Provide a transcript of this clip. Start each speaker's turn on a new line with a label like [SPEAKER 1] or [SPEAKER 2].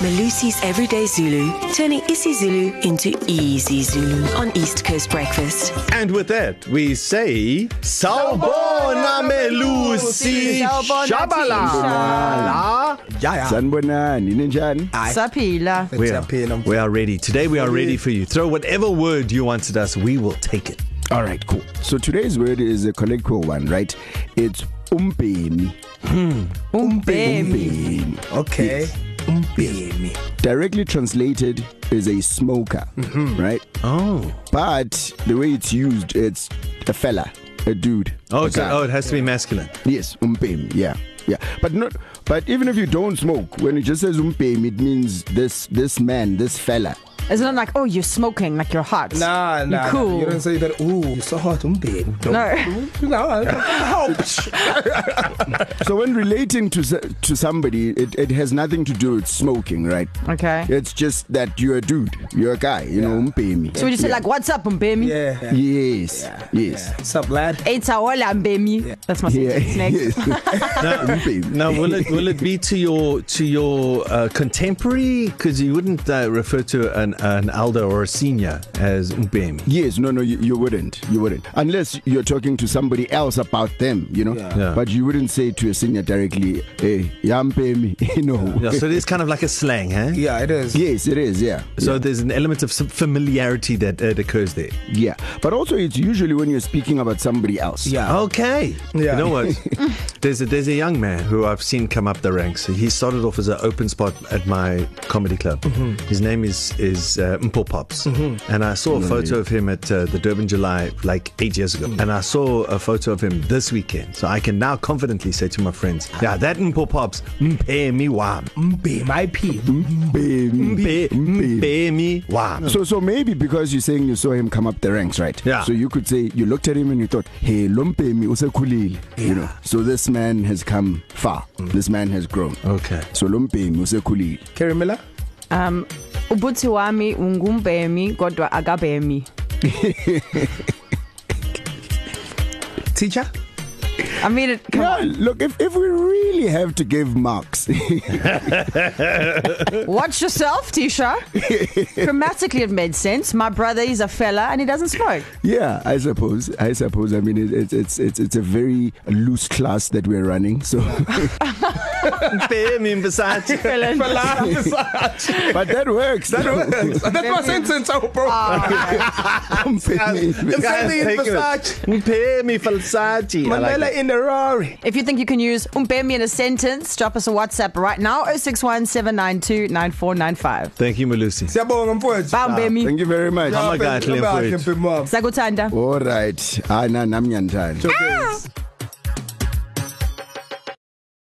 [SPEAKER 1] Malusi's Everyday Zulu, turning isiZulu into easy Zulu on East Coast Breakfast.
[SPEAKER 2] And with that, we say Sawbona Melusi
[SPEAKER 3] Sawubona
[SPEAKER 2] Shabala.
[SPEAKER 4] Jaya.
[SPEAKER 5] sanibonani ninjani
[SPEAKER 2] Ah.
[SPEAKER 3] Saphila.
[SPEAKER 2] We are, we are ready. Today we are ready for you. Throw whatever word you wanted us, we will take it.
[SPEAKER 5] all right cool so today's word is a colloquial one right it's umbeni
[SPEAKER 2] Hmm,
[SPEAKER 3] Umbemi.
[SPEAKER 4] Okay. Umbeni.
[SPEAKER 5] directly translated is a smoker mm-hmm. right
[SPEAKER 2] Oh.
[SPEAKER 5] but the way it's used it's a fella a dude
[SPEAKER 2] Oh,
[SPEAKER 5] a
[SPEAKER 2] okay.
[SPEAKER 5] guy.
[SPEAKER 2] oh it has to be masculine.
[SPEAKER 5] yes umbeni yeah yeah but not but even if you don't smoke when it just says umbeni it means this this man this fella
[SPEAKER 3] It's not like, oh, you're smoking, like you're hot.
[SPEAKER 4] Nah,
[SPEAKER 3] You're
[SPEAKER 4] nah. You
[SPEAKER 3] cool.
[SPEAKER 4] don't say that. Ooh, you're so hot. Umbeni.
[SPEAKER 3] No.
[SPEAKER 4] No. Ouch.
[SPEAKER 5] so when relating to s- to somebody it, it has nothing to do with smoking right
[SPEAKER 3] Okay.
[SPEAKER 5] It's just that you're a dude, you're a guy, you yeah. know, umbemi.
[SPEAKER 3] So we just say, like, what's up, Umbemi?
[SPEAKER 4] Yeah. yeah.
[SPEAKER 5] yes, yeah. yes.
[SPEAKER 4] What's up, lad?
[SPEAKER 3] It's a hola, Umbemi. Yeah. That's my
[SPEAKER 5] Yeah.
[SPEAKER 3] sentence next.
[SPEAKER 5] yes. umbemi.
[SPEAKER 2] Now, will it will it be to your to your uh, contemporary? Because you wouldn't uh, refer to an an elder or a senior as umbemi.
[SPEAKER 5] Yes, no, no, you, you wouldn't, you wouldn't, unless you're talking to somebody else about them, you know.
[SPEAKER 4] Yeah.
[SPEAKER 2] Yeah.
[SPEAKER 5] But you wouldn't say to a senior directly, "Hey, yampemi," you know.
[SPEAKER 2] Yeah, so it is kind of like a slang, huh?
[SPEAKER 4] Yeah, it is.
[SPEAKER 5] Yes, it is. Yeah.
[SPEAKER 2] So there's an element of some familiarity that that occurs there.
[SPEAKER 5] Yeah. But also, it's usually when you're speaking about somebody else.
[SPEAKER 4] Yeah.
[SPEAKER 2] Oh, Okay. You
[SPEAKER 4] Yeah.
[SPEAKER 2] know what? there's a there's a young man who I've seen come up the ranks. He started off as an open spot at my comedy club. Mm-hmm. His name is is uh, Mpo Pops, mm-hmm. and I saw a photo of him at uh, the Durban July like eight years ago, mm-hmm. and I saw a photo of him this weekend. So I can now confidently say to my friends, yeah, that Mpo Pops, mpe mi wam,
[SPEAKER 4] Umbeni. My P.
[SPEAKER 5] Umbemi.
[SPEAKER 2] mpe mpe mi wam.
[SPEAKER 5] So, so maybe because you're saying you saw him come up the ranks, right?
[SPEAKER 2] Yeah.
[SPEAKER 5] So you could say you looked at him and you thought, "Hey, lompemi usekulile," yeah. you know. So this man has come far. Mm. This man has grown.
[SPEAKER 2] Okay.
[SPEAKER 5] So lompemi usekulile.
[SPEAKER 4] Kerry Miller.
[SPEAKER 3] Um, ubuthi wami ungumbemi kodwa akabemi.
[SPEAKER 4] Teacher.
[SPEAKER 3] I mean, it, come
[SPEAKER 5] Yeah, look, if if we really have to give marks,
[SPEAKER 3] Watch yourself, Tisha. Grammatically, it made sense. My brother is a fella and he doesn't smoke.
[SPEAKER 5] yeah, I suppose, I suppose. I mean, it, it's it's it's it's a very loose class that we're running. So,
[SPEAKER 2] Mpe mi mvisati.
[SPEAKER 3] Fella.
[SPEAKER 5] but that works. That
[SPEAKER 4] That's my sentence. Oh, bro.
[SPEAKER 5] works.
[SPEAKER 4] Sending in Versace.
[SPEAKER 2] Mpe mi falsati. I like
[SPEAKER 4] Mandela
[SPEAKER 2] that.
[SPEAKER 4] in the Rari.
[SPEAKER 3] If you think you can use umbemi in a sentence, drop us a WhatsApp right now 061 792 9495.
[SPEAKER 2] Thank you, Malusi.
[SPEAKER 4] Siyabonga mfowethu.
[SPEAKER 3] Bambemi.
[SPEAKER 5] Thank you very much.
[SPEAKER 2] Ama-
[SPEAKER 5] Yeah.
[SPEAKER 2] kahle le
[SPEAKER 4] Kahle
[SPEAKER 2] mfowethu.
[SPEAKER 4] mfowethu.
[SPEAKER 3] Sakutanda.
[SPEAKER 5] All right. Ah, na namnyantani.
[SPEAKER 4] Okay.